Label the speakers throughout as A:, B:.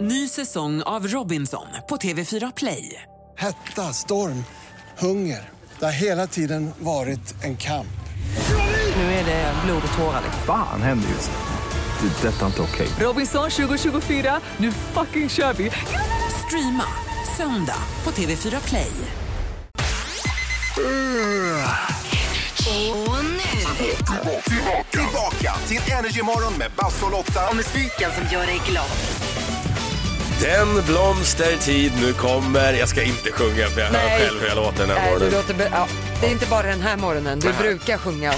A: Ny säsong av Robinson på TV4 Play.
B: Hetta, storm, hunger. Det har hela tiden varit en kamp.
A: Nu är det blod och tårar. liksom.
C: Fan händer just nu. Det. är Detta är inte okej.
A: Robinson 2024, nu fucking kör vi! Streama söndag på TV4 Play.
D: Och nu,
E: Tillbaka till Energymorgon med Basse och Lotta.
D: musiken som gör dig glad.
F: Den blomstertid nu kommer. Jag ska inte sjunga för jag hör
G: Nej.
F: själv hur jag låter den här
G: Nej, du
F: morgonen.
G: låter be- ja, det är inte bara den här morgonen. Du brukar sjunga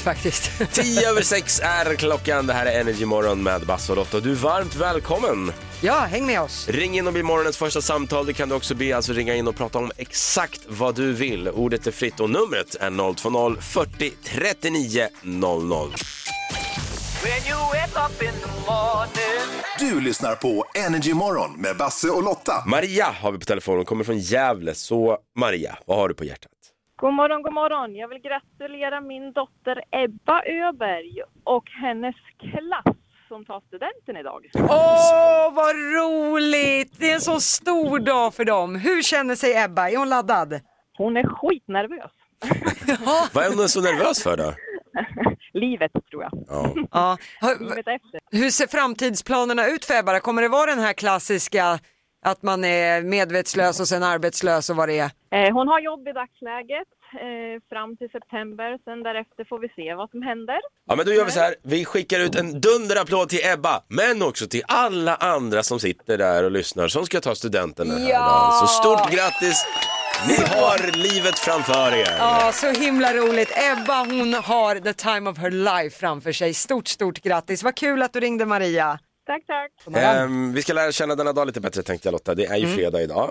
G: faktiskt.
F: 10 över 6 är klockan. Det här är Energy Morgon med Basse och Lotta. Du är varmt välkommen.
G: Ja, häng med oss.
F: Ring in och bli morgonens första samtal. Det kan du också bli. Alltså ringa in och prata om exakt vad du vill. Ordet är fritt och numret är 020 40 39 00.
E: Du lyssnar på Energymorgon med Basse och Lotta.
F: Maria har vi på telefon. Hon kommer från Gävle. Så Maria, vad har du på hjärtat?
H: God morgon, god morgon. Jag vill gratulera min dotter Ebba Öberg och hennes klass som tar studenten idag.
G: Åh, vad roligt! Det är en så stor dag för dem. Hur känner sig Ebba? Är hon laddad?
H: Hon är skitnervös.
F: Vad är hon så nervös för då?
H: Livet, tror jag.
F: Ja.
G: Ja. Hur,
H: Livet efter.
G: hur ser framtidsplanerna ut för Ebba? då? Kommer det vara den här klassiska att man är medvetslös och sen arbetslös och vad det är?
H: Eh, hon har jobb i dagsläget eh, fram till september. Sen därefter får vi se vad som händer.
F: Ja men då gör vi så här, vi skickar ut en dunderapplåd till Ebba, men också till alla andra som sitter där och lyssnar som ska ta studenten den här
G: Ja!
F: dagen. Så stort grattis! Ni har livet framför er!
G: Ja, så himla roligt. Ebba hon har the time of her life framför sig. Stort, stort grattis. Vad kul att du ringde Maria.
H: Tack, tack.
F: Ehm, vi ska lära känna denna dag lite bättre tänkte jag Lotta, det
G: Mm.
F: är ju fredag idag.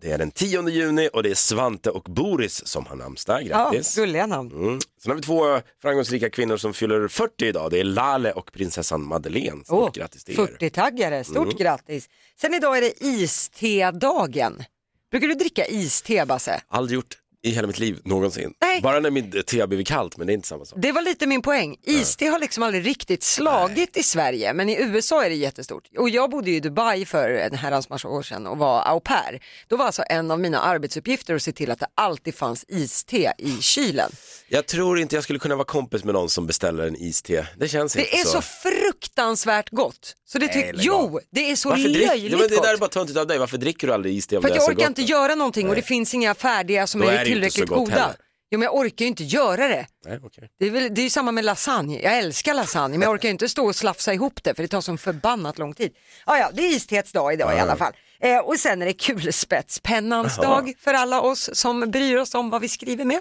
F: Det är den 10 juni och det är Svante och Boris som har namnsdag,
G: Ja,
F: grattis!
G: gulliga namn.
F: Mm. Sen har vi två framgångsrika kvinnor som fyller 40 idag, det är Lale och prinsessan Madeleine. Stort
G: Åh,
F: grattis till er! Mm.
G: 40-taggare, stort grattis. Sen idag är det iste-dagen. Brukar du dricka iste, Basse?
F: Aldrig gjort i hela mitt liv någonsin.
G: Nej.
F: Bara när mitt te har blivit kallt men det är inte samma sak.
G: Det var lite min poäng. Iste har liksom aldrig riktigt slagit i Sverige, men i USA är det jättestort. Och jag bodde ju i Dubai för en herrans massa år sedan och var au pair. Då var alltså en av mina arbetsuppgifter att se till att det alltid fanns iste i kylen.
F: Jag tror inte jag skulle kunna vara kompis med någon som beställer en iste. Det känns
G: Det
F: inte
G: är så fruktansvärt gott. Så det
F: Nej,
G: tyck-
F: lägg av.
G: jo, det är så
F: Varför drick-
G: löjligt
F: ja, men Det
G: gott.
F: där är bara töntigt av dig. Varför dricker du aldrig iste om
G: För
F: det
G: att
F: är
G: jag
F: så
G: orkar
F: gott?
G: inte göra någonting och det
F: Nej.
G: finns inga färdiga som
F: Då
G: är,
F: är det ju inte
G: tillräckligt
F: så gott
G: goda.
F: heller.
G: Jo, men jag orkar ju inte göra det.
F: Nej, okej.
G: Det är, väl, det är ju samma med lasagne. Jag älskar lasagne men jag orkar ju inte stå och slafsa ihop det för det tar sån förbannat lång tid. Ah, ja, det är istets dag idag i alla fall. Eh, och sen är det kulspetspennans dag för alla oss som bryr oss om vad vi skriver med.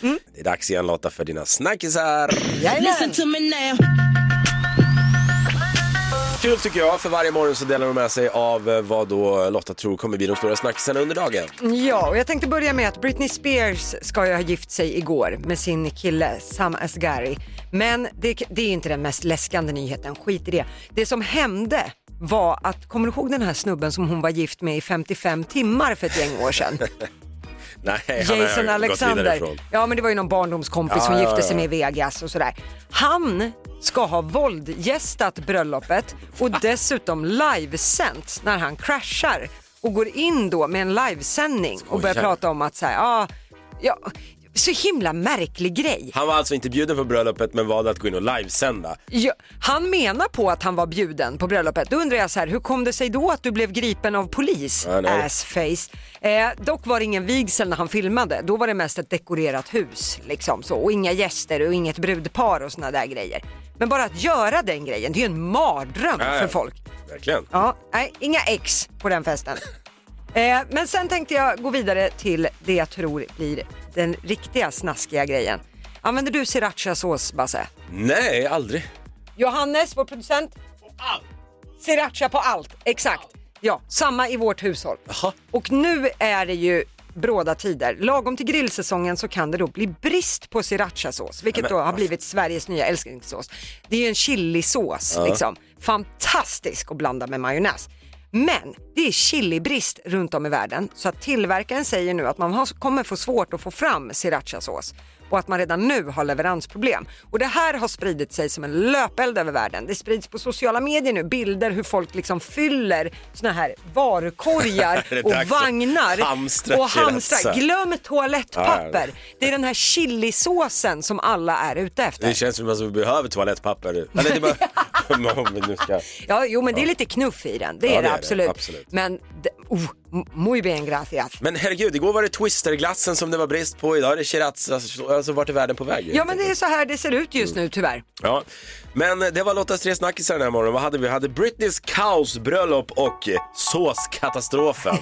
F: Mm. Det är dags igen Lotta för dina snackisar.
G: Jajamän.
F: Kul tycker jag, för varje morgon så delar de med sig av eh, vad då Lotta tror kommer bli de stora snackisarna under dagen.
G: Ja, och jag tänkte börja med att Britney Spears ska ju ha gift sig igår med sin kille Sam Asghari. Men det, det är inte den mest läskande nyheten, skit i det. Det som hände var att, kommer du ihåg den här snubben som hon var gift med i 55 timmar för ett gäng år sedan?
F: Nej, han har
G: Jason
F: jag gått vidare
G: Alexander.
F: ifrån.
G: Ja men det var ju någon barndomskompis som
F: Ja, ja,
G: gifte
F: ja.
G: sig med i Vegas och sådär. Han ska ha våldgästat bröllopet och dessutom livesänt när han kraschar och går in då med en livesändning och börjar
F: Skojar.
G: prata om att såhär, ja, ja, så himla märklig grej.
F: Han var alltså inte bjuden på bröllopet men valde att gå in och livesända.
G: Ja, han menar på att han var bjuden på bröllopet. Då undrar jag så här, hur kom det sig då att du blev gripen av polis?
F: Ja, nej.
G: Assface. Eh, dock var det ingen vigsel när han filmade. Då var det mest ett dekorerat hus liksom så. Och inga gäster och inget brudpar och såna där grejer. Men bara att göra den grejen, det är ju en mardröm
F: Ja, ja.
G: för folk.
F: Verkligen.
G: Ja, nej, inga ex på den festen. Eh, men sen tänkte jag gå vidare till det jag tror blir den riktiga snaskiga grejen. Använder du srirachasås, Basse?
F: Nej, aldrig.
G: Johannes, vår producent. Sriracha på allt, exakt. Ja, samma i vårt hushåll.
F: Jaha.
G: Och nu är det ju bråda tider. Lagom till grillsäsongen så kan det då bli brist på srirachasås, vilket
F: Men-
G: då har blivit Sveriges nya älsklingssås. Det är ju en chilisås liksom. Fantastisk att blanda med majonnäs. Men det är chilibrist runt om i världen så att tillverkaren säger nu att man har, kommer få svårt att få fram srirachasås och att man redan nu har leveransproblem. Och det här har spridit sig som en löpeld över världen. Det sprids på sociala medier nu, bilder hur folk liksom fyller såna här varukorgar
F: Det är
G: och
F: dags att
G: vagnar
F: hamstra
G: och
F: srirachasa.
G: hamstrar. Glöm
F: Ja,
G: toalettpapper. Det är den här chilisåsen som alla är ute efter.
F: Det känns som att vi behöver toalettpapper. Eller det är bara... Om vi nu ska...
G: Ja, jo men det är lite knuff i den, det är
F: Ja,
G: det, absolut.
F: absolut.
G: Men, det- oh, m- muy bien gracias.
F: Men herregud, igår var det twisterglassen som det var brist på, idag är det shiraz. Alltså, alltså vart är världen på väg?
G: Ja men det är så här det ser ut just nu tyvärr.
F: Ja, men det var Lottas tre snackisar den här morgonen. Vad hade vi? Vi hade Britneys kaosbröllop och eh, såskatastrofen.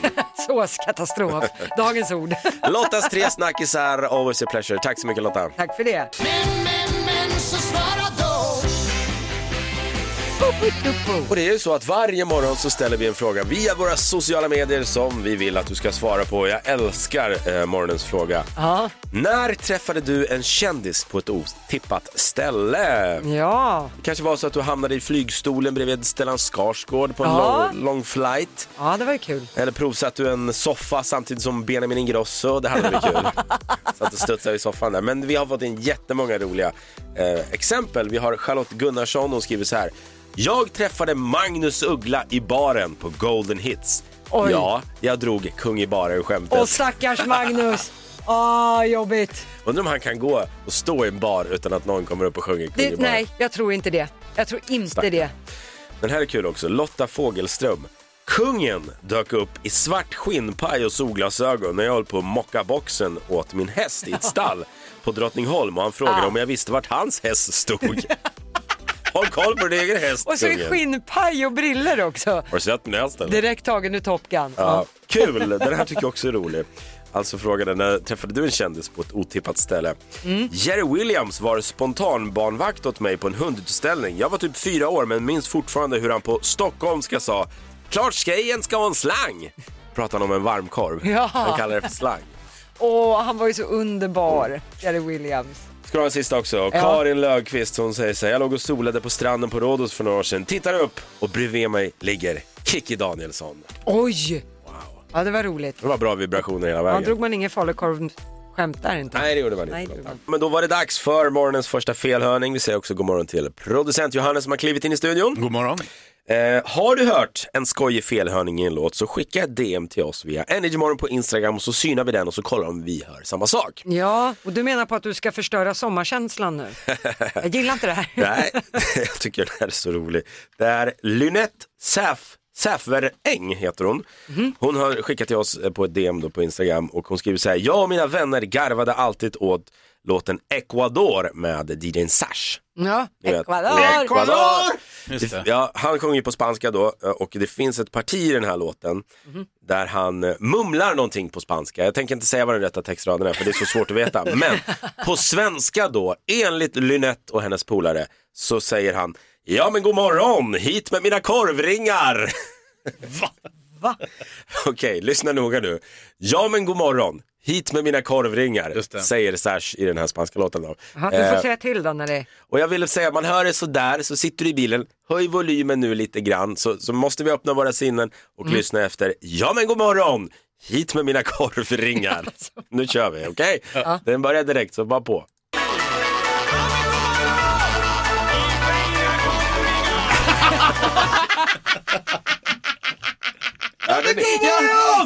G: Såskatastrof, dagens ord.
F: Lottas tre snackisar, always a pleasure. Tack så mycket Lotta.
G: Tack för det.
F: Och det är ju så att varje morgon så ställer vi en fråga via våra sociala medier som vi vill att du ska svara på. Jag älskar eh, morgonens fråga.
G: Ja,
F: När träffade du en kändis på ett otippat ställe?
G: ja,
F: Det kanske var så att du hamnade i flygstolen bredvid Stellan Skarsgård på en
G: Ja.
F: lång, lång flight.
G: ja det var ju kul.
F: Eller provsatt du en soffa samtidigt som Benjamin Ingrosso. Det hade varit kul. Satt och studsade i soffan där. Men vi har fått in jättemånga roliga eh, exempel. Vi har Charlotte Gunnarsson. Hon skriver så här. Jag träffade Magnus Uggla i baren på Golden Hits.
G: Oj.
F: Ja, jag drog kung i baren skämtet.
G: Och stackars Magnus. Ah, jobbigt.
F: Undrar om han kan gå och stå i en bar utan att någon kommer upp och sjunger kung i
G: Det,
F: baren.
G: nej, jag tror inte det. Jag tror inte
F: Stackarn.
G: det.
F: Den här är kul också. Lotta Fågelström. Kungen dök upp i svart skinnpaj och solglasögon när jag höll på att mocka boxen åt min häst i ett stall på Drottningholm och han frågade om jag visste vart hans häst stod. Håll koll på din egen häst,
G: Och så är det
F: kungen.
G: skinnpaj och briller också.
F: Har du sett den hästen?
G: Direkt tagen ur Top Gun.
F: Ja, kul! Den här tycker jag också är rolig. Alltså frågade när träffade du en kändis på ett otippat ställe?
G: Mm.
F: Jerry Williams var spontanbarnvakt åt mig på en hundutställning. Jag var typ fyra år men minns fortfarande hur han på stockholmska sa “Klart skejen ska ha en slang!” Pratar han om en varmkorv.
G: Ja.
F: Han kallar det för slang.
G: Åh, han var ju så underbar, Jerry Williams.
F: Ska du ha en sista också? Karin Löfqvist hon säger så här, jag låg och solade på stranden på Rhodos för några år sedan. Tittar upp och bredvid mig ligger Kiki Danielsson.
G: Oj! Ja, det var roligt.
F: Det var bra vibrationer hela
G: Ja,
F: vägen.
G: drog man ingen falukorv-skämt där inte?
F: Nej, det gjorde man inte.
G: Nej, det gjorde man
F: Men då var det dags för morgonens första felhörning. Vi säger också god morgon till producent Johannes som har klivit in i studion.
I: God morgon.
F: Eh, har du hört en skojig felhörning i en låt så skicka ett DM till oss via Energymorgon på Instagram och så synar vi den och så kollar om vi hör samma sak.
G: Ja, och du menar på att du ska förstöra sommarkänslan nu? Jag gillar inte det här.
F: Nej, jag tycker den här är så rolig. Det är Lynette Säf Säfveräng heter hon.
G: Mhm.
F: Hon har skickat till oss eh, på ett DM då på Instagram och hon skriver så här. Jag och mina vänner garvade alltid åt låten Ecuador med DJn Sash.
G: Ja,
F: Ni vet,
G: Ecuador!
I: Just
F: Det-
I: det.
F: Ja, han sjunger ju på spanska då och det finns ett parti i den här låten
G: Mhm.
F: där han eh, mumlar någonting på spanska. Jag tänker inte säga vad den rätta textraden är för det är så svårt att veta. Men på svenska då, enligt Lynette och hennes polare, så säger han Ja men god morgon, hit med mina korvringar!
G: Va?
F: Okej, lyssna noga nu. Ja men god morgon, hit med mina
I: Just
F: korvringar,
I: det.
F: säger Sash i den här spanska låten då.
G: Ja, du får
F: Eh,
G: säga till då när det är...
F: och jag ville säga, man hör det sådär, så sitter du i bilen, höj volymen nu lite grann, så, så måste vi öppna våra sinnen och lyssna efter, ja men god morgon, hit med mina korvringar. nu kör vi, okej? Den börjar direkt, så bara på. Ja, den är-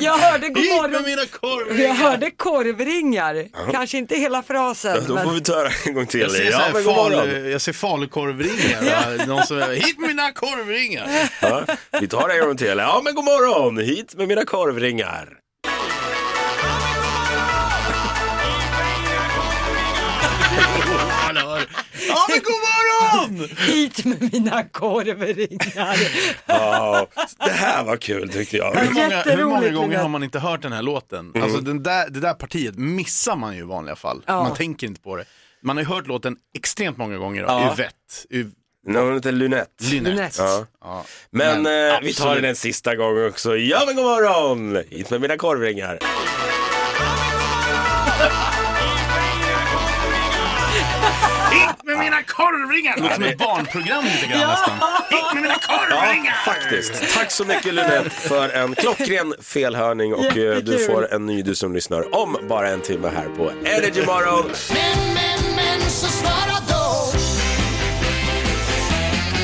G: Jag hörde god
I: Hit med
G: morgon.
I: mina korvar!
G: Jag hörde korvringar. Kanske inte hela frasen.
F: Då får
G: Men...
F: vi ta det en gång till.
I: Jag ser, så
F: Ja,
I: här
F: men god morgon.
I: fal, jag ser falukorvringar. va? Någon som är, hit med mina korvringar.
F: Ja, vi tar det en gång till. Ja, men god morgon! Hit med mina korvringar.
I: Han hör, ja men god morgon!
G: Hit med mina korvringar.
F: Ja, det här var kul tyckte jag.
I: Hur många, hur många
G: Jätteroligt,
I: gånger
G: Lina.
I: har man inte hört den här låten? Alltså den där, det där partiet missar man ju i vanliga fall.
G: Ja.
I: Man tänker inte på det. Man har ju hört låten extremt många gånger. då.
F: Ja.
I: Yvette, Yv-
F: Nu har hon heter Lynette.
I: Lynette.
G: Lynette.
F: Ja.
I: Ja.
F: Men,
I: Men,
F: eh, vi tar
I: absolut.
F: den en sista gång också. Ja men god morgon! Hit med mina korvringar.
I: Hit med med mina korvringar! Det låter som ett barnprogram lite grann nästan. Hit med mina
F: Ja,
I: korvringar!
F: faktiskt. Tack så mycket Lunette för en klockren felhörning och eh, du
G: Jättekul.
F: får en ny du som lyssnar om bara en timme här på Energy Morgon.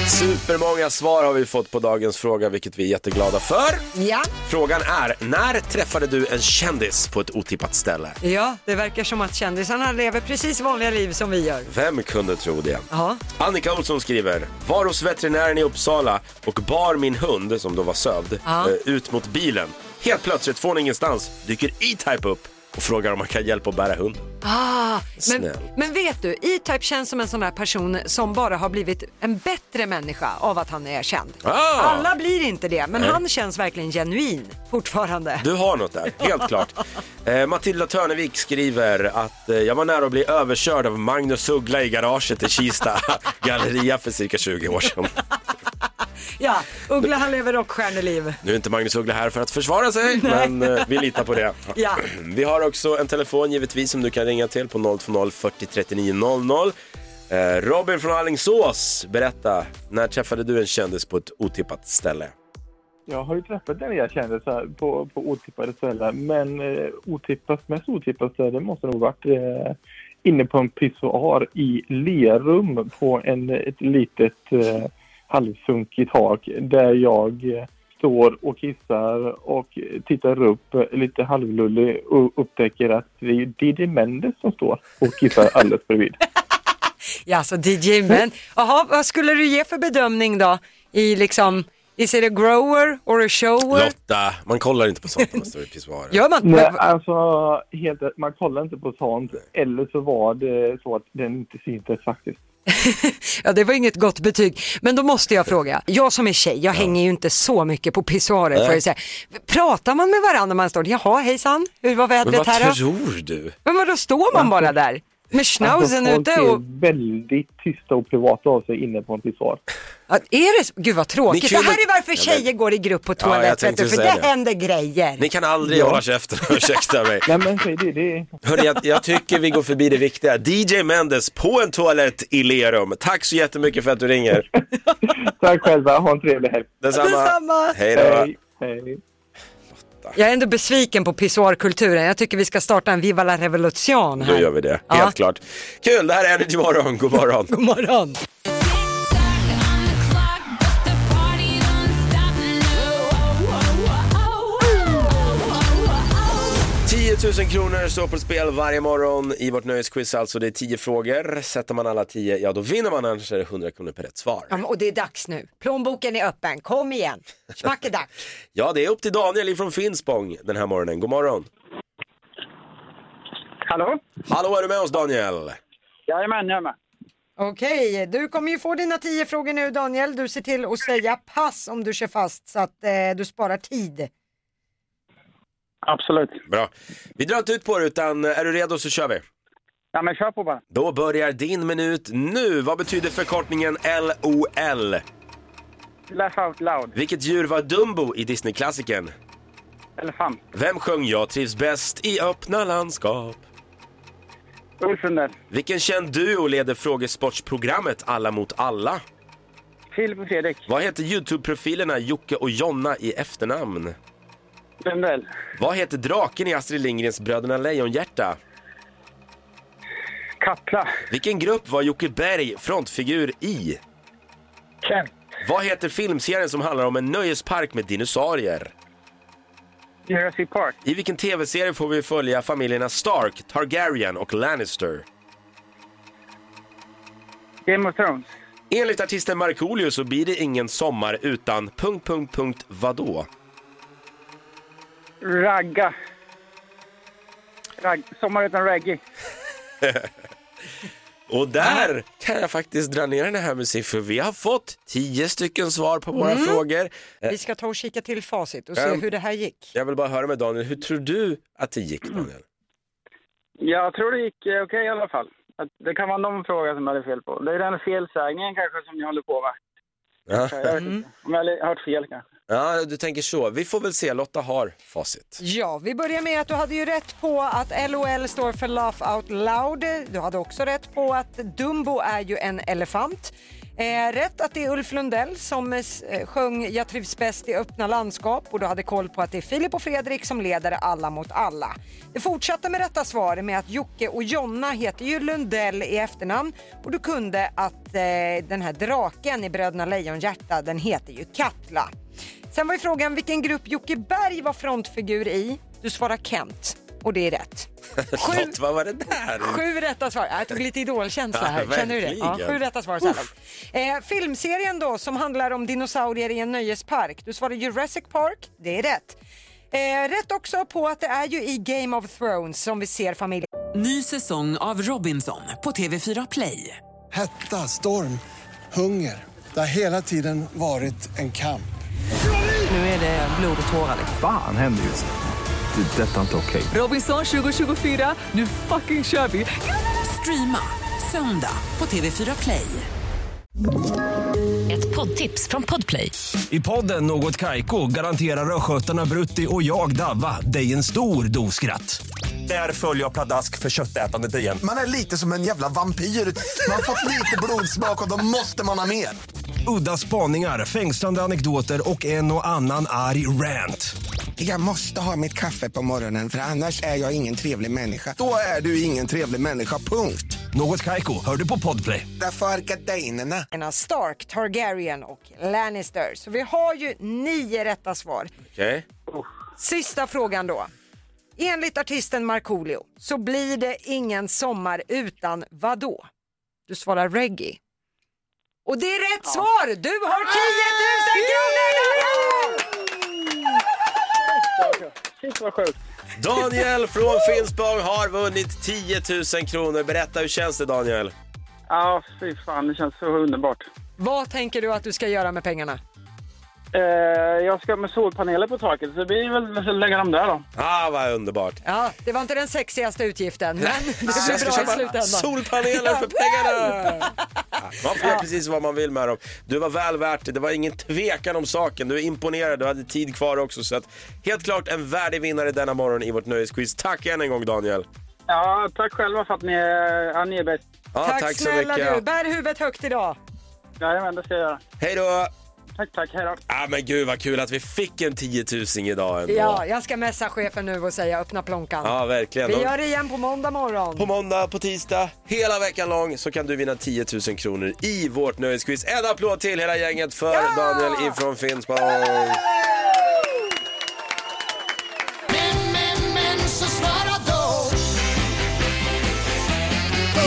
F: Supermånga svar har vi fått på dagens fråga vilket vi är jätteglada för.
G: Ja.
F: Frågan är, när träffade du en kändis på ett otippat ställe?
G: ja, det verkar som att kändisarna lever precis vanliga liv som vi gör.
F: Vem kunde tro det?
G: Ja.
F: Annika Olsson skriver, var hos veterinären i Uppsala och bar min hund, som då var sövd,
G: Ja.
F: eh, ut mot bilen. Helt plötsligt från ingenstans dyker E-Type upp och frågar om man kan hjälpa att bära hunden.
G: Ah, men,
F: Snällt.
G: men vet du, E-Type känns som en sån här person som bara har blivit en bättre människa av att han är känd.
F: Ah.
G: Alla blir inte det, men han känns verkligen genuin fortfarande.
F: Du har något där, helt klart. Eh, Matilda Törnevik skriver att eh, jag var nära att bli överkörd av Magnus Uggla i garaget i Kista galleria för cirka 20 år sedan.
G: Ja, Uggla han lever rockstjärneliv.
F: Nu är inte Magnus Uggla här för att försvara sig, men eh, vi litar på det.
G: Ja.
F: Vi har också en telefon givetvis som du kan ringa till på 020 40 39 00. Eh, Robin från Alingsås, berätta, när träffade du en kändis på ett otippat ställe?
J: Jag har ju träffat en del kändisar på, på otippade ställen, men eh, otippat, mest otippat ställe måste nog varit eh, inne på en pissoar i Lerum på en, ett litet eh, halvsunkigt tak där jag eh, står och kissar och tittar upp eh, lite halvlullig och upptäcker att det är Didi Mendes som står och kissar alldeles bredvid.
G: Ja, så DJ Men. Jaha, vad skulle du ge för bedömning då? I liksom, is it a grower or a shower?
F: Lotta, man kollar inte på sånt när man står i pissoaren.
G: Gör man
J: Nej,
G: men-
J: alltså helt, man kollar inte på sånt eller så var det så att den inte syntes faktiskt.
G: Ja, det var inget gott betyg. Men då måste jag fråga, jag som är tjej, jag hänger ju inte så mycket på pissoarer får jag säga. Pratar man med varandra när man står där? Jaha, hejsan, hur var
F: Men vad
G: vädret här då?
F: tror du?
G: Men vadå, står man bara där? Med schnauzen
J: folk
G: ute och...
J: är väldigt tysta och privata av sig inne på en pissoar.
G: Ja, är det... så- Gud vad
F: Ni
G: tråkigt. Det
F: kvinnor-
G: här är varför
F: Ja,
G: tjejer går i grupp på toalett,
F: jag
G: vet
F: tänkte
G: du, för
F: säga
G: det,
F: det.
G: händer grejer.
F: Ni kan aldrig hålla käften, ursäkta mig.
J: Nej men säg det, det är...
F: Hörni, jag, jag tycker vi går förbi det viktiga. DJ Mendes på en toalett i Lerum. Tack så jättemycket för att du ringer.
J: Tack själva, ha en trevlig helg.
F: Detsamma.
G: Detsamma.
F: Hej då.
J: hej.
G: Jag är ändå besviken på pissoarkulturen. Jag tycker vi ska starta en Viva la revolution här.
F: Då gör vi det,
G: Ja.
F: helt klart. Kul, det här är Energy Morgon. God morgon.
G: God morgon.
K: Energy.
F: 10 000 kronor står på spel varje morgon i vårt nöjesquiz. Alltså det är 10 frågor. Sätter man alla 10, ja då vinner man annars är det 100 kronor per rätt svar.
G: Ja, men- Och det är dags nu. Plånboken är öppen. Kom igen. Smackedack.
F: Ja, det är upp till Daniel från Finspång den här morgonen. God morgon.
J: Hallå?
F: Hallå, är du med oss Daniel?
J: Jajamän, jag är med.
G: Okej, du kommer ju få dina tio frågor nu Daniel. Du ser till att säga pass om du kör fast så att eh, du sparar tid.
J: Absolut.
F: Bra. Vi drar inte ut på det utan eh, är du redo så kör vi.
J: Ja men kör på bara.
F: Då börjar din minut nu. Vad betyder förkortningen LOL?
J: Laugh out loud.
F: Vilket djur var Dumbo i Disney-klassikern?
J: Elefant.
F: Vem sjöng Jag trivs bäst i öppna landskap?
J: Ulfunder.
F: Vilken känd duo leder frågesportsprogrammet Alla mot alla?
J: Filip och Fredrik.
F: Vad heter Youtube-profilerna Jocke och Jonna i efternamn?
J: Lundell.
F: Vad heter draken i Astrid Lindgrens Bröderna Lejonhjärta?
J: Kapla.
F: Vilken grupp var Jocke Berg frontfigur i?
J: Kent.
F: Vad heter filmserien som handlar om en nöjespark med dinosaurier?
J: Jurassic Park.
F: I vilken tv-serie får vi följa familjerna Stark, Targaryen och Lannister?
J: Game of Thrones.
F: Enligt artisten Markoolio så blir det ingen sommar utan... Punkt, punkt, punkt, vadå?
J: Ragga. Rag... Sommar utan reggae.
F: Och där kan jag faktiskt dra ner den här med siffror. Vi har fått tio stycken svar på våra frågor. Eh,
G: Vi ska ta och kika till facit och se
F: Ehm.
G: hur det här gick.
F: Jag vill bara höra med Daniel, hur tror du att det gick
G: Mm.
F: Daniel?
J: Jag tror det gick eh, okej i alla fall. Att det kan vara någon fråga som jag hade fel på. Det är den felsägningen kanske som jag håller på med.
F: Ja.
K: Jag vet inte. Om jag har hört fel kanske.
F: Ja, du tänker så. Vi får väl se, Lotta har facit.
G: Ja, vi börjar med att du hade ju rätt på att LOL står för Laugh Out Loud. Du hade också rätt på att Dumbo är ju en elefant. Eh, rätt att det är Ulf Lundell som eh, s- eh, sjöng Jag trivs bäst i öppna landskap och du hade koll på att det är Filip och Fredrik som leder Alla mot alla. Det fortsatte med rätta svar med att Jocke och Jonna heter ju Lundell i efternamn och du kunde att eh, den här draken i Bröderna Lejonhjärta den heter ju Katla. Sen var ju frågan vilken grupp Jocke Berg var frontfigur i. Du svarar Kent och det är rätt. Sju,
F: Lotta, vad var det där?
G: sju rätta svar. Jag tog lite idolkänsla här.
F: Ja,
G: Känner du det? Ja,
F: verkligen.
G: sju rätta svar så här långt. eh, Filmserien då som handlar om dinosaurier i en nöjespark. Du svarar Jurassic Park. Det är rätt. Eh, rätt också på att det är ju i Game of Thrones som vi ser familjen
A: Ny säsong av Robinson på TV4 Play.
B: Hetta, storm, hunger. Det har hela tiden varit en kamp.
A: Nu är det blod och tårar.
C: Fan händer just nu. Det. är Detta är inte okej.
A: Robinson 2024, nu fucking kör vi! Streama söndag på TV4 Play.
L: Ett poddtips från Podplay.
M: I podden Något Kaiko garanterar östgötarna Brutti och jag, Davva, dig en stor dos skratt. Där följer jag pladask för köttätandet igen.
N: Man är lite som en jävla vampyr. Man har fått lite blodsmak och då måste man ha mer.
M: Udda spaningar, fängslande anekdoter och en och annan arg rant.
N: Jag måste ha mitt kaffe på morgonen för annars är jag ingen trevlig människa. Då är du ingen trevlig människa, punkt.
M: Något Kaiko, hör du på podplay.
N: Därför är gardinerna.
G: Stark, Targaryen och Lannister. Så vi har ju nio rätta svar.
F: Okej.
G: Sista frågan då. Enligt artisten Markoolio så blir det ingen sommar utan vadå? Du svarar reggae. Och det är rätt svar! Du
F: Ah!
G: har 10 000 kronor!
K: Shit vad sjukt.
F: Daniel från Finspång har vunnit 10 000 kronor. Berätta, hur känns det Daniel?
K: Ja, fy fan, det känns så underbart.
G: Vad tänker du att du ska göra med pengarna?
K: Eh, jag ska med solpaneler på taket så det blir väl lägga dem där då.
F: Ah, vad underbart.
G: Ja, det var inte den sexigaste utgiften, men det
F: Så jag ska
G: blir bra i
F: köpa
G: slutändan.
F: solpaneler för pengarna! Man får göra precis vad man vill med dem. Du var väl värt det, det var ingen tvekan om saken. Du är imponerad, du hade tid kvar också. Så att, helt klart en värdig vinnare denna morgon i vårt nöjesquiz. Tack än en gång Daniel!
K: Ja, tack själva för att ni, är- ja, ni är bäst.
F: Ja, Tack tack så snälla mycket. du.
G: Bär huvudet högt idag.
K: Jajamän, det ska jag göra.
F: Hej då!
K: Tack, tack. Hej då.
F: Ah, men gud vad kul att vi fick en 10 000 idag ändå.
G: Ja, jag ska messa chefen nu och säga öppna plånkan.
F: Ja, verkligen.
G: Vi gör det igen på måndag morgon.
F: På måndag, på tisdag, hela veckan lång så kan du vinna 10 000 kronor i vårt nöjesquiz. En applåd till hela gänget för Daniel ifrån Finspång.
O: Men, men, men så svara då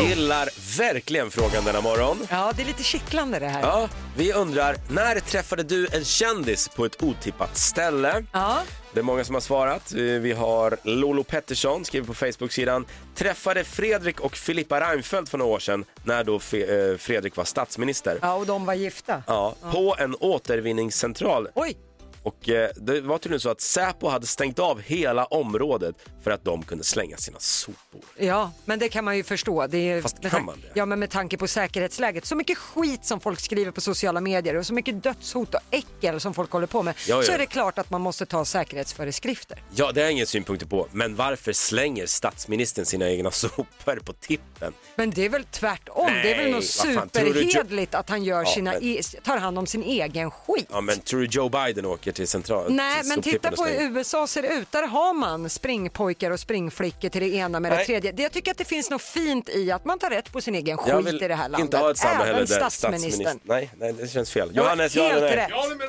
F: Gillar verkligen frågan denna morgon.
G: Ja, det är lite kittlande det här.
F: Ja, vi undrar, när träffade du en kändis på ett otippat ställe?
G: Ja.
F: Det är många som har svarat. Eh, Vi har Lolo Pettersson, skriver på Facebook-sidan. Träffade Fredrik och Filippa Reinfeldt för några år sedan, när då Fe- eh, Fredrik var statsminister.
G: Ja, och de var gifta.
F: Ja, på en återvinningscentral.
G: Oj!
F: Och eh, det var tydligen så att Säpo hade stängt av hela området för att de kunde slänga sina sopor.
G: Ja, men det kan man ju förstå. Det är, Fast
F: kan man det?
G: Ja, men med tanke på säkerhetsläget. Så mycket skit som folk skriver på sociala medier och så mycket dödshot och äckel som folk håller på med.
F: Ja, ja.
G: Så är det klart att man måste ta säkerhetsföreskrifter.
F: Ja, det har jag inga synpunkter på, men varför slänger statsministern sina egna sopor på tippen?
G: Men det är väl tvärtom. det är väl
F: Nej,
G: något
F: vad fan, tror du-
G: superhedligt att han gör
F: Ja,
G: sina
F: men-
G: e- tar hand om sin egen skit.
F: Ja, men tror du Joe Biden åker till central?
G: Nej,
F: till
G: men titta
F: soptippen och
G: på hur
F: slänger?
G: USA ser ut. Där har man springpojkar och springflickor till det ena med det
F: Nej.
G: tredje. Det- Jag tycker att det finns något fint i att man tar rätt på sin egen
F: Jag
G: skit
F: vill
G: i det här landet.
F: inte ha ett samhälle
G: Även
F: där
G: statsministern.
F: Nej, nej, det känns fel.
G: Jag har
F: Johannes,
G: helt
F: ja eller nej?
G: rätt. Jag håller med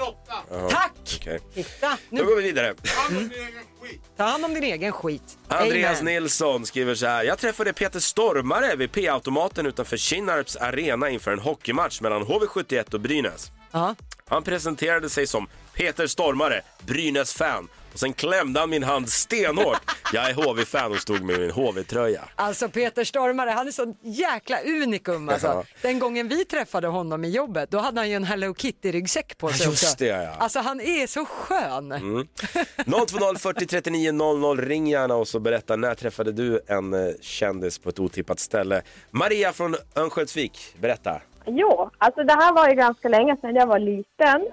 G: Lotta. Tack!
F: Okej.
G: Titta,
F: Då
G: nu
F: går vi vidare.
G: ta hand om din egen skit.
F: Andreas
G: Amen.
F: Nilsson skriver så här. Jag träffade Peter Stormare vid P-automaten utanför Kinnarps arena inför en hockeymatch mellan HV71 och Brynäs.
G: Ja.
F: Han presenterade sig som Peter Stormare, Brynäs-fan. Och sen klämde han min hand stenhårt. Jag är HV-fan och stod med min HV-tröja.
G: Alltså Peter Stormare, han är så jäkla unikum alltså.
F: Ja.
G: Den gången vi träffade honom i jobbet, då hade han ju en Hello Kitty-ryggsäck på sig
F: Ja, just
G: också.
F: det, ja.
G: Alltså han är så skön.
F: Mm. 020 40 39 00, ring gärna och så berätta när träffade du en eh, kändis på ett otippat ställe. Maria från Örnsköldsvik, berätta.
L: Jo, alltså det här var ju ganska länge sedan jag var liten.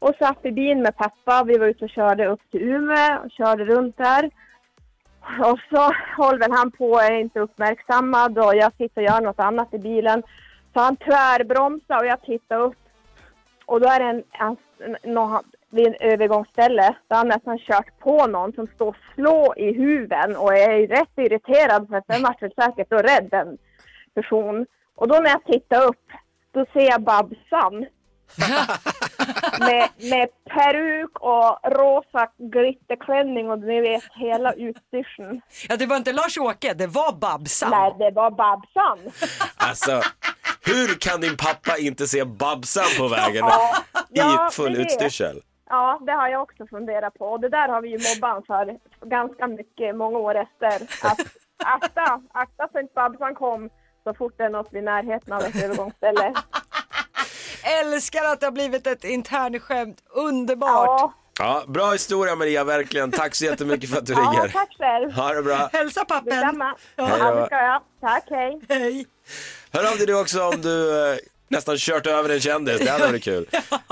L: Och satt i bilen med pappa. Vi var ute och körde upp till Umeå och körde runt där. Och så håller väl han på, är inte uppmärksammad och jag sitter och gör något annat i bilen. Så han tvärbromsar och jag tittar upp. Och då är det en, en, nå- vid en övergångsställe där han nästan kört på någon som står och slår i huven och jag är rätt irriterad för att den vart väl säkert då rädd den person. Och då när jag tittar upp då ser jag Babsan. med, med peruk och rosa glitterklänning och ni vet hela utstyrseln.
G: Ja, det var inte Lars-Åke, det var Babsan.
L: Nej, det var Babsan.
F: Alltså, hur kan din pappa inte se Babsan på vägen
L: Ja, ja,
F: i full
L: det är det.
F: utstyrsel?
L: Ja, det har jag också funderat på. Och det där har vi ju mobban för ganska mycket, många år efter. Att akta, akta så inte Babsan kom så fort det är något vid närheten av ett övergångsställe.
G: Älskar att det har blivit ett internskämt, underbart.
F: Ja, bra historia Maria, verkligen. Tack så jättemycket för att du
L: Ja,
F: ringer.
L: tack själv.
F: Ha det bra.
G: Hälsa pappen.
L: Detsamma.
F: Hej då.
L: Ja, det ska jag. Tack, hej.
G: Hej.
F: Hör av dig du också om du eh, nästan kört över en kändis, det hade varit kul.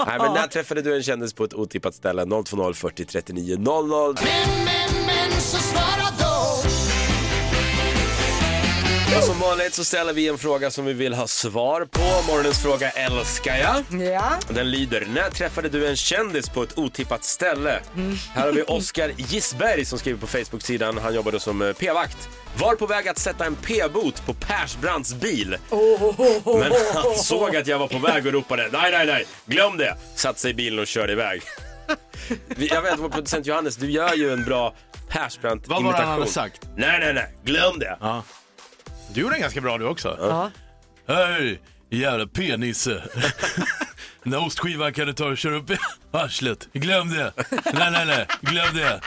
F: Nej, men när träffade du en kändis på ett otippat ställe? 020 40 39 00.
O: Men, men så svara då.
F: Och som vanligt så ställer vi en fråga som vi vill ha svar på. Morgonens fråga älskar jag.
G: Ja.
F: Den lyder, när träffade du en kändis på ett otippat ställe? Här har vi Oskar Gisberg som skriver på Facebook-sidan. Han jobbade som eh, p-vakt. Var på väg att sätta en p-bot på Persbrandts bil. Men han såg att jag var på väg och ropade nej, nej, nej, glöm det. Satt sig i bilen och körde iväg. Vi- Jag vet, vår producent Johannes, du gör ju en bra Persbrandt-imitation.
I: Vad var det han hade sagt?
F: Nej, nej, nej, glöm det.
I: Du gjorde den ganska bra du också.
F: Ja.
I: Hej, jävla penisse. Den där ostskivan kan du ta och köra upp i arslet. Glöm det. Nej, nej, nej. Glöm det.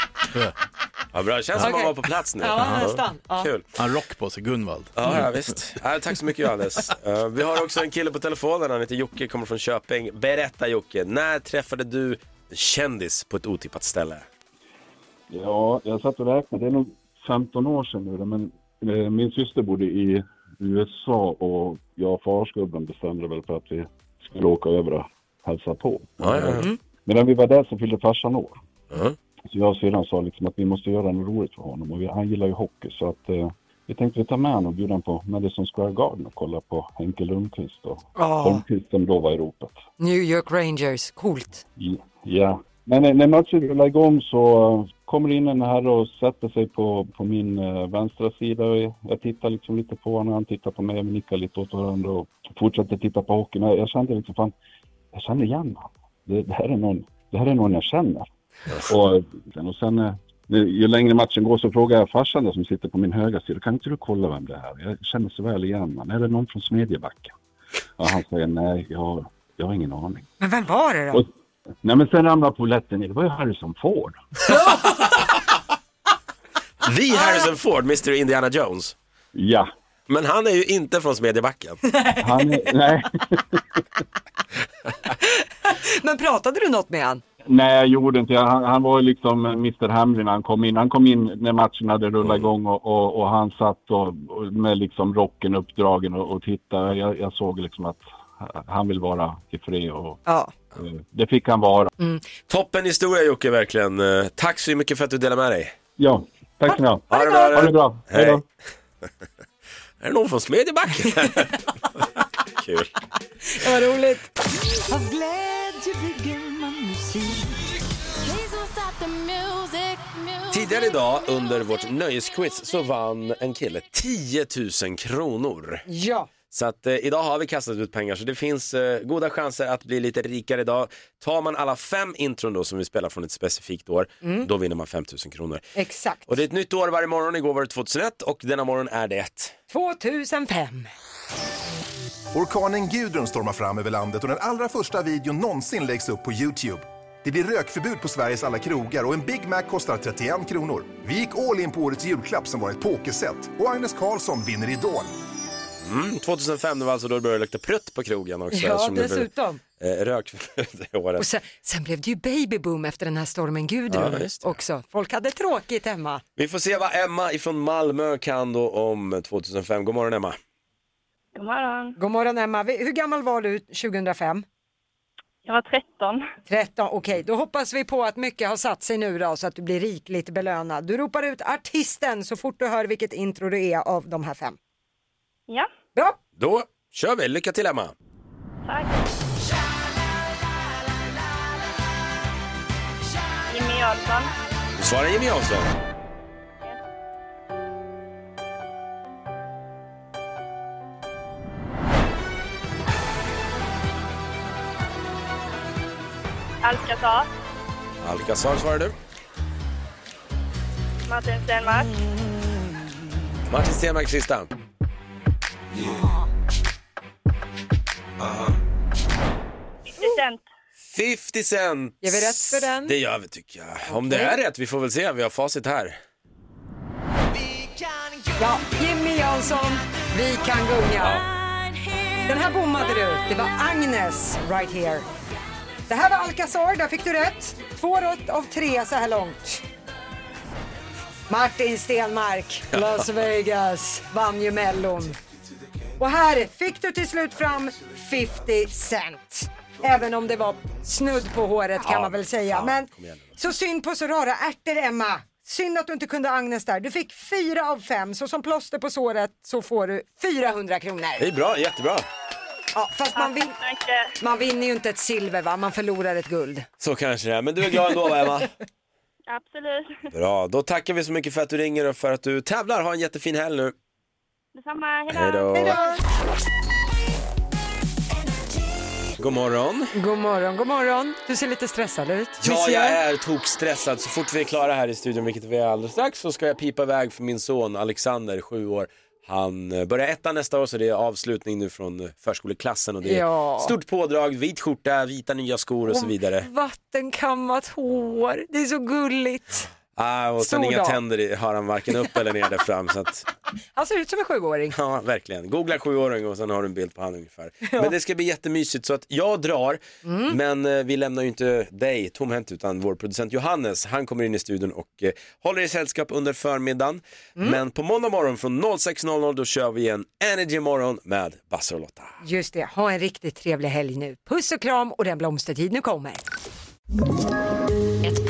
F: Ja, bra. Det känns som
I: Okej.
F: man var på plats nu.
I: Ja, nästan. Ja.
F: Kul.
I: Han rock på sig, Gunvald.
F: Ja, ja visst. Ja, tack så mycket Johannes. Eh, vi har också en kille på telefonen, han heter Jocke, kommer från Köping. Berätta Jocke, när träffade du en kändis på ett otippat ställe?
P: Ja, jag satt och räknade. Det är nog 15 år sedan nu. då, Men eh, min syster bodde i USA och jag och farsgubben bestämde väl för att vi skulle åka över och hälsa på.
F: Ja, ja, ja. Mm.
P: Men när vi var där så fyllde farsan år. Så jag och syrran sa liksom att vi måste göra något roligt för honom. Och vi, han gillar ju hockey så att eh, vi tänkte vi tar med honom och bjuda honom på Madison Square Garden och kolla på Henke Lundqvist och
G: Ja.
P: Lundqvist som då var i ropet.
G: New York Rangers, coolt.
P: Ja, men eh, när matchen rullar igång så eh, kommer in en herre och sätter sig på, på min eh, vänstra sida. Och jag- Jag tittar liksom lite på honom, han tittar på mig, vi nickar lite åt varandra och fortsätter titta på hockeyn. Jag jag kände liksom fan, jag känner igen honom. Det, det, här är någon, det här är någon jag känner. Och, eh, och sen, eh, ju längre matchen går så frågar jag farsan då, som sitter på min högra sida, kan inte du kolla vem det här är? Jag känner så väl igen honom. Är det någon från Smedjebacken? Och han säger nej, jag, jag har ingen aning.
G: Men vem var det då?
P: Och- Nej men sen ramlade polletten ner. Det var ju Harrison Ford.
F: Vi Harrison Ford, Mr Indiana Jones.
P: Ja.
F: Men han är ju inte från Smedjebacken.
P: Han är, nej.
G: Men pratade du något med han?
P: nej, jag gjorde inte. Han, han var ju liksom Mr Hamlin när han kom in. Han kom in när matchen hade rullat igång och, och, och han satt och, och med liksom rocken uppdragen och, och tittade. Jag, jag såg liksom att han vill vara i fred och
G: ja.
P: det fick han vara.
F: Toppen historia Jocke, verkligen. Eh, Tack så mycket för att du delade med dig.
P: Ja, tack ska ni ha.
F: Ha det bra.
P: Ha det bra. Hej då.
F: Är det någon från Smedjebacken? Kul.
G: Det var roligt.
O: Av glädje bygger man musik. Please don't stop the music.
F: Tidigare idag under vårt nöjesquiz så vann en kille 10 000 kronor.
G: Ja.
F: Så att eh, idag har vi kastat ut pengar så det finns eh, goda chanser att bli lite rikare idag. Tar man alla fem intron då som vi spelar från ett specifikt år,
G: Mm.
F: då vinner man 5 000 kronor.
G: Exakt.
F: Och det är ett nytt år varje morgon, igår var det 2001 och denna morgon är det ett.
G: 2005.
E: Orkanen Gudrun stormar fram över landet och den allra första videon någonsin läggs upp på Youtube. Det blir rökförbud på Sveriges alla krogar och en Big Mac kostar 31 kronor. Vi gick all in på årets julklapp som var ett pokerset och Agnes Karlsson vinner Idol.
F: Mm, 2005 det var alltså då det började lukta prutt på krogen också.
G: Ja,
F: eftersom det blev,
G: dessutom.
F: Eh, Rökförbud det året.
G: Och sen, sen blev det ju babyboom efter den här stormen Gudrun
F: Ja, just
G: också. Folk hade tråkigt hemma.
F: Vi får se vad Emma ifrån Malmö kan då om 2005. God morgon Emma.
H: God morgon.
G: God morgon Emma. Vi- Hur gammal var du 2005?
H: Jag var 13.
G: 13, okej. Då hoppas vi på att mycket har satt sig nu då så att du blir rikligt belönad. Du ropar ut artisten så fort du hör vilket intro det är av de här fem.
H: Ja.
G: Bra!
F: Då kör vi. Lycka till Emma.
H: Jimmy Jansson.
F: Du svarar Jimmy Jansson.
H: Alcazar.
F: Alcazar svarar du.
H: Martin Stenmarck.
F: Martin Stenmarck sista.
H: Vicent.
F: 50 Cent.
H: Ger vi rätt för den?
F: Det gör vi tycker jag. Om det
G: Okej.
F: är rätt, vi får väl se. Vi har facit här.
G: Ja, Jimmy Jansson, vi kan gunga. Den här bommade du. Det var Agnes, right here. Det här var Alcazar, där fick du rätt. Två rätt av tre så här långt. Martin Stenmark, Las Vegas, vann ju Mellon. Och här fick du till slut fram 50 Cent. Även om det var snudd på håret kan
Q: Ja,
G: man väl säga.
Q: fan,
G: Men
Q: kom igen nu.
G: så synd på så rara ärtor Emma. Synd att du inte kunde Agnes där. Du fick fyra av fem så som plåster på såret så får du 400
F: Det är
G: kronor.
F: bra, jättebra.
G: Ja, fast man, vin- man vinner ju inte ett silver va, man förlorar ett guld.
F: Så kanske det är. Men du är glad ändå va Emma?
H: Absolut.
F: Bra, då tackar vi så mycket för att du ringer och för att du tävlar. Ha en jättefin helg nu.
H: Detsamma.
F: Hej då. Hej då. God morgon.
G: God morgon, god morgon. Du ser lite stressad ut.
F: Ja,
G: Visst
F: jag är tokstressad. Så fort vi är klara här i studion, vilket vi är alldeles strax, så ska jag pipa iväg för min son Alexander, sju år. Han eh, börjar ettan nästa år så det är avslutning nu från eh, förskoleklassen och det är
G: Ja.
F: stort pådrag, vit skjorta, vita nya skor och så vidare.
G: Vattenkammat hår, det är så gulligt.
F: Ah, och sen
G: Stor
F: inga
G: dag.
F: tänder i- har han varken upp eller ner där fram. Så att,
G: Han ser ut som en sjuåring.
F: ja, verkligen. Googla sjuåring och sen har du en bild på han ungefär. Men det ska bli jättemysigt så att jag drar. Men eh, vi lämnar ju inte dig tomhänt utan vår producent Johannes, han kommer in i studion och eh, håller i sällskap under förmiddagen. Men på måndag morgon från 06.00 då kör vi en Energy morgon med Basse och Lotta.
G: Just det, ha en riktigt trevlig helg nu. Puss och kram och den blomstertid nu kommer.
M: Ett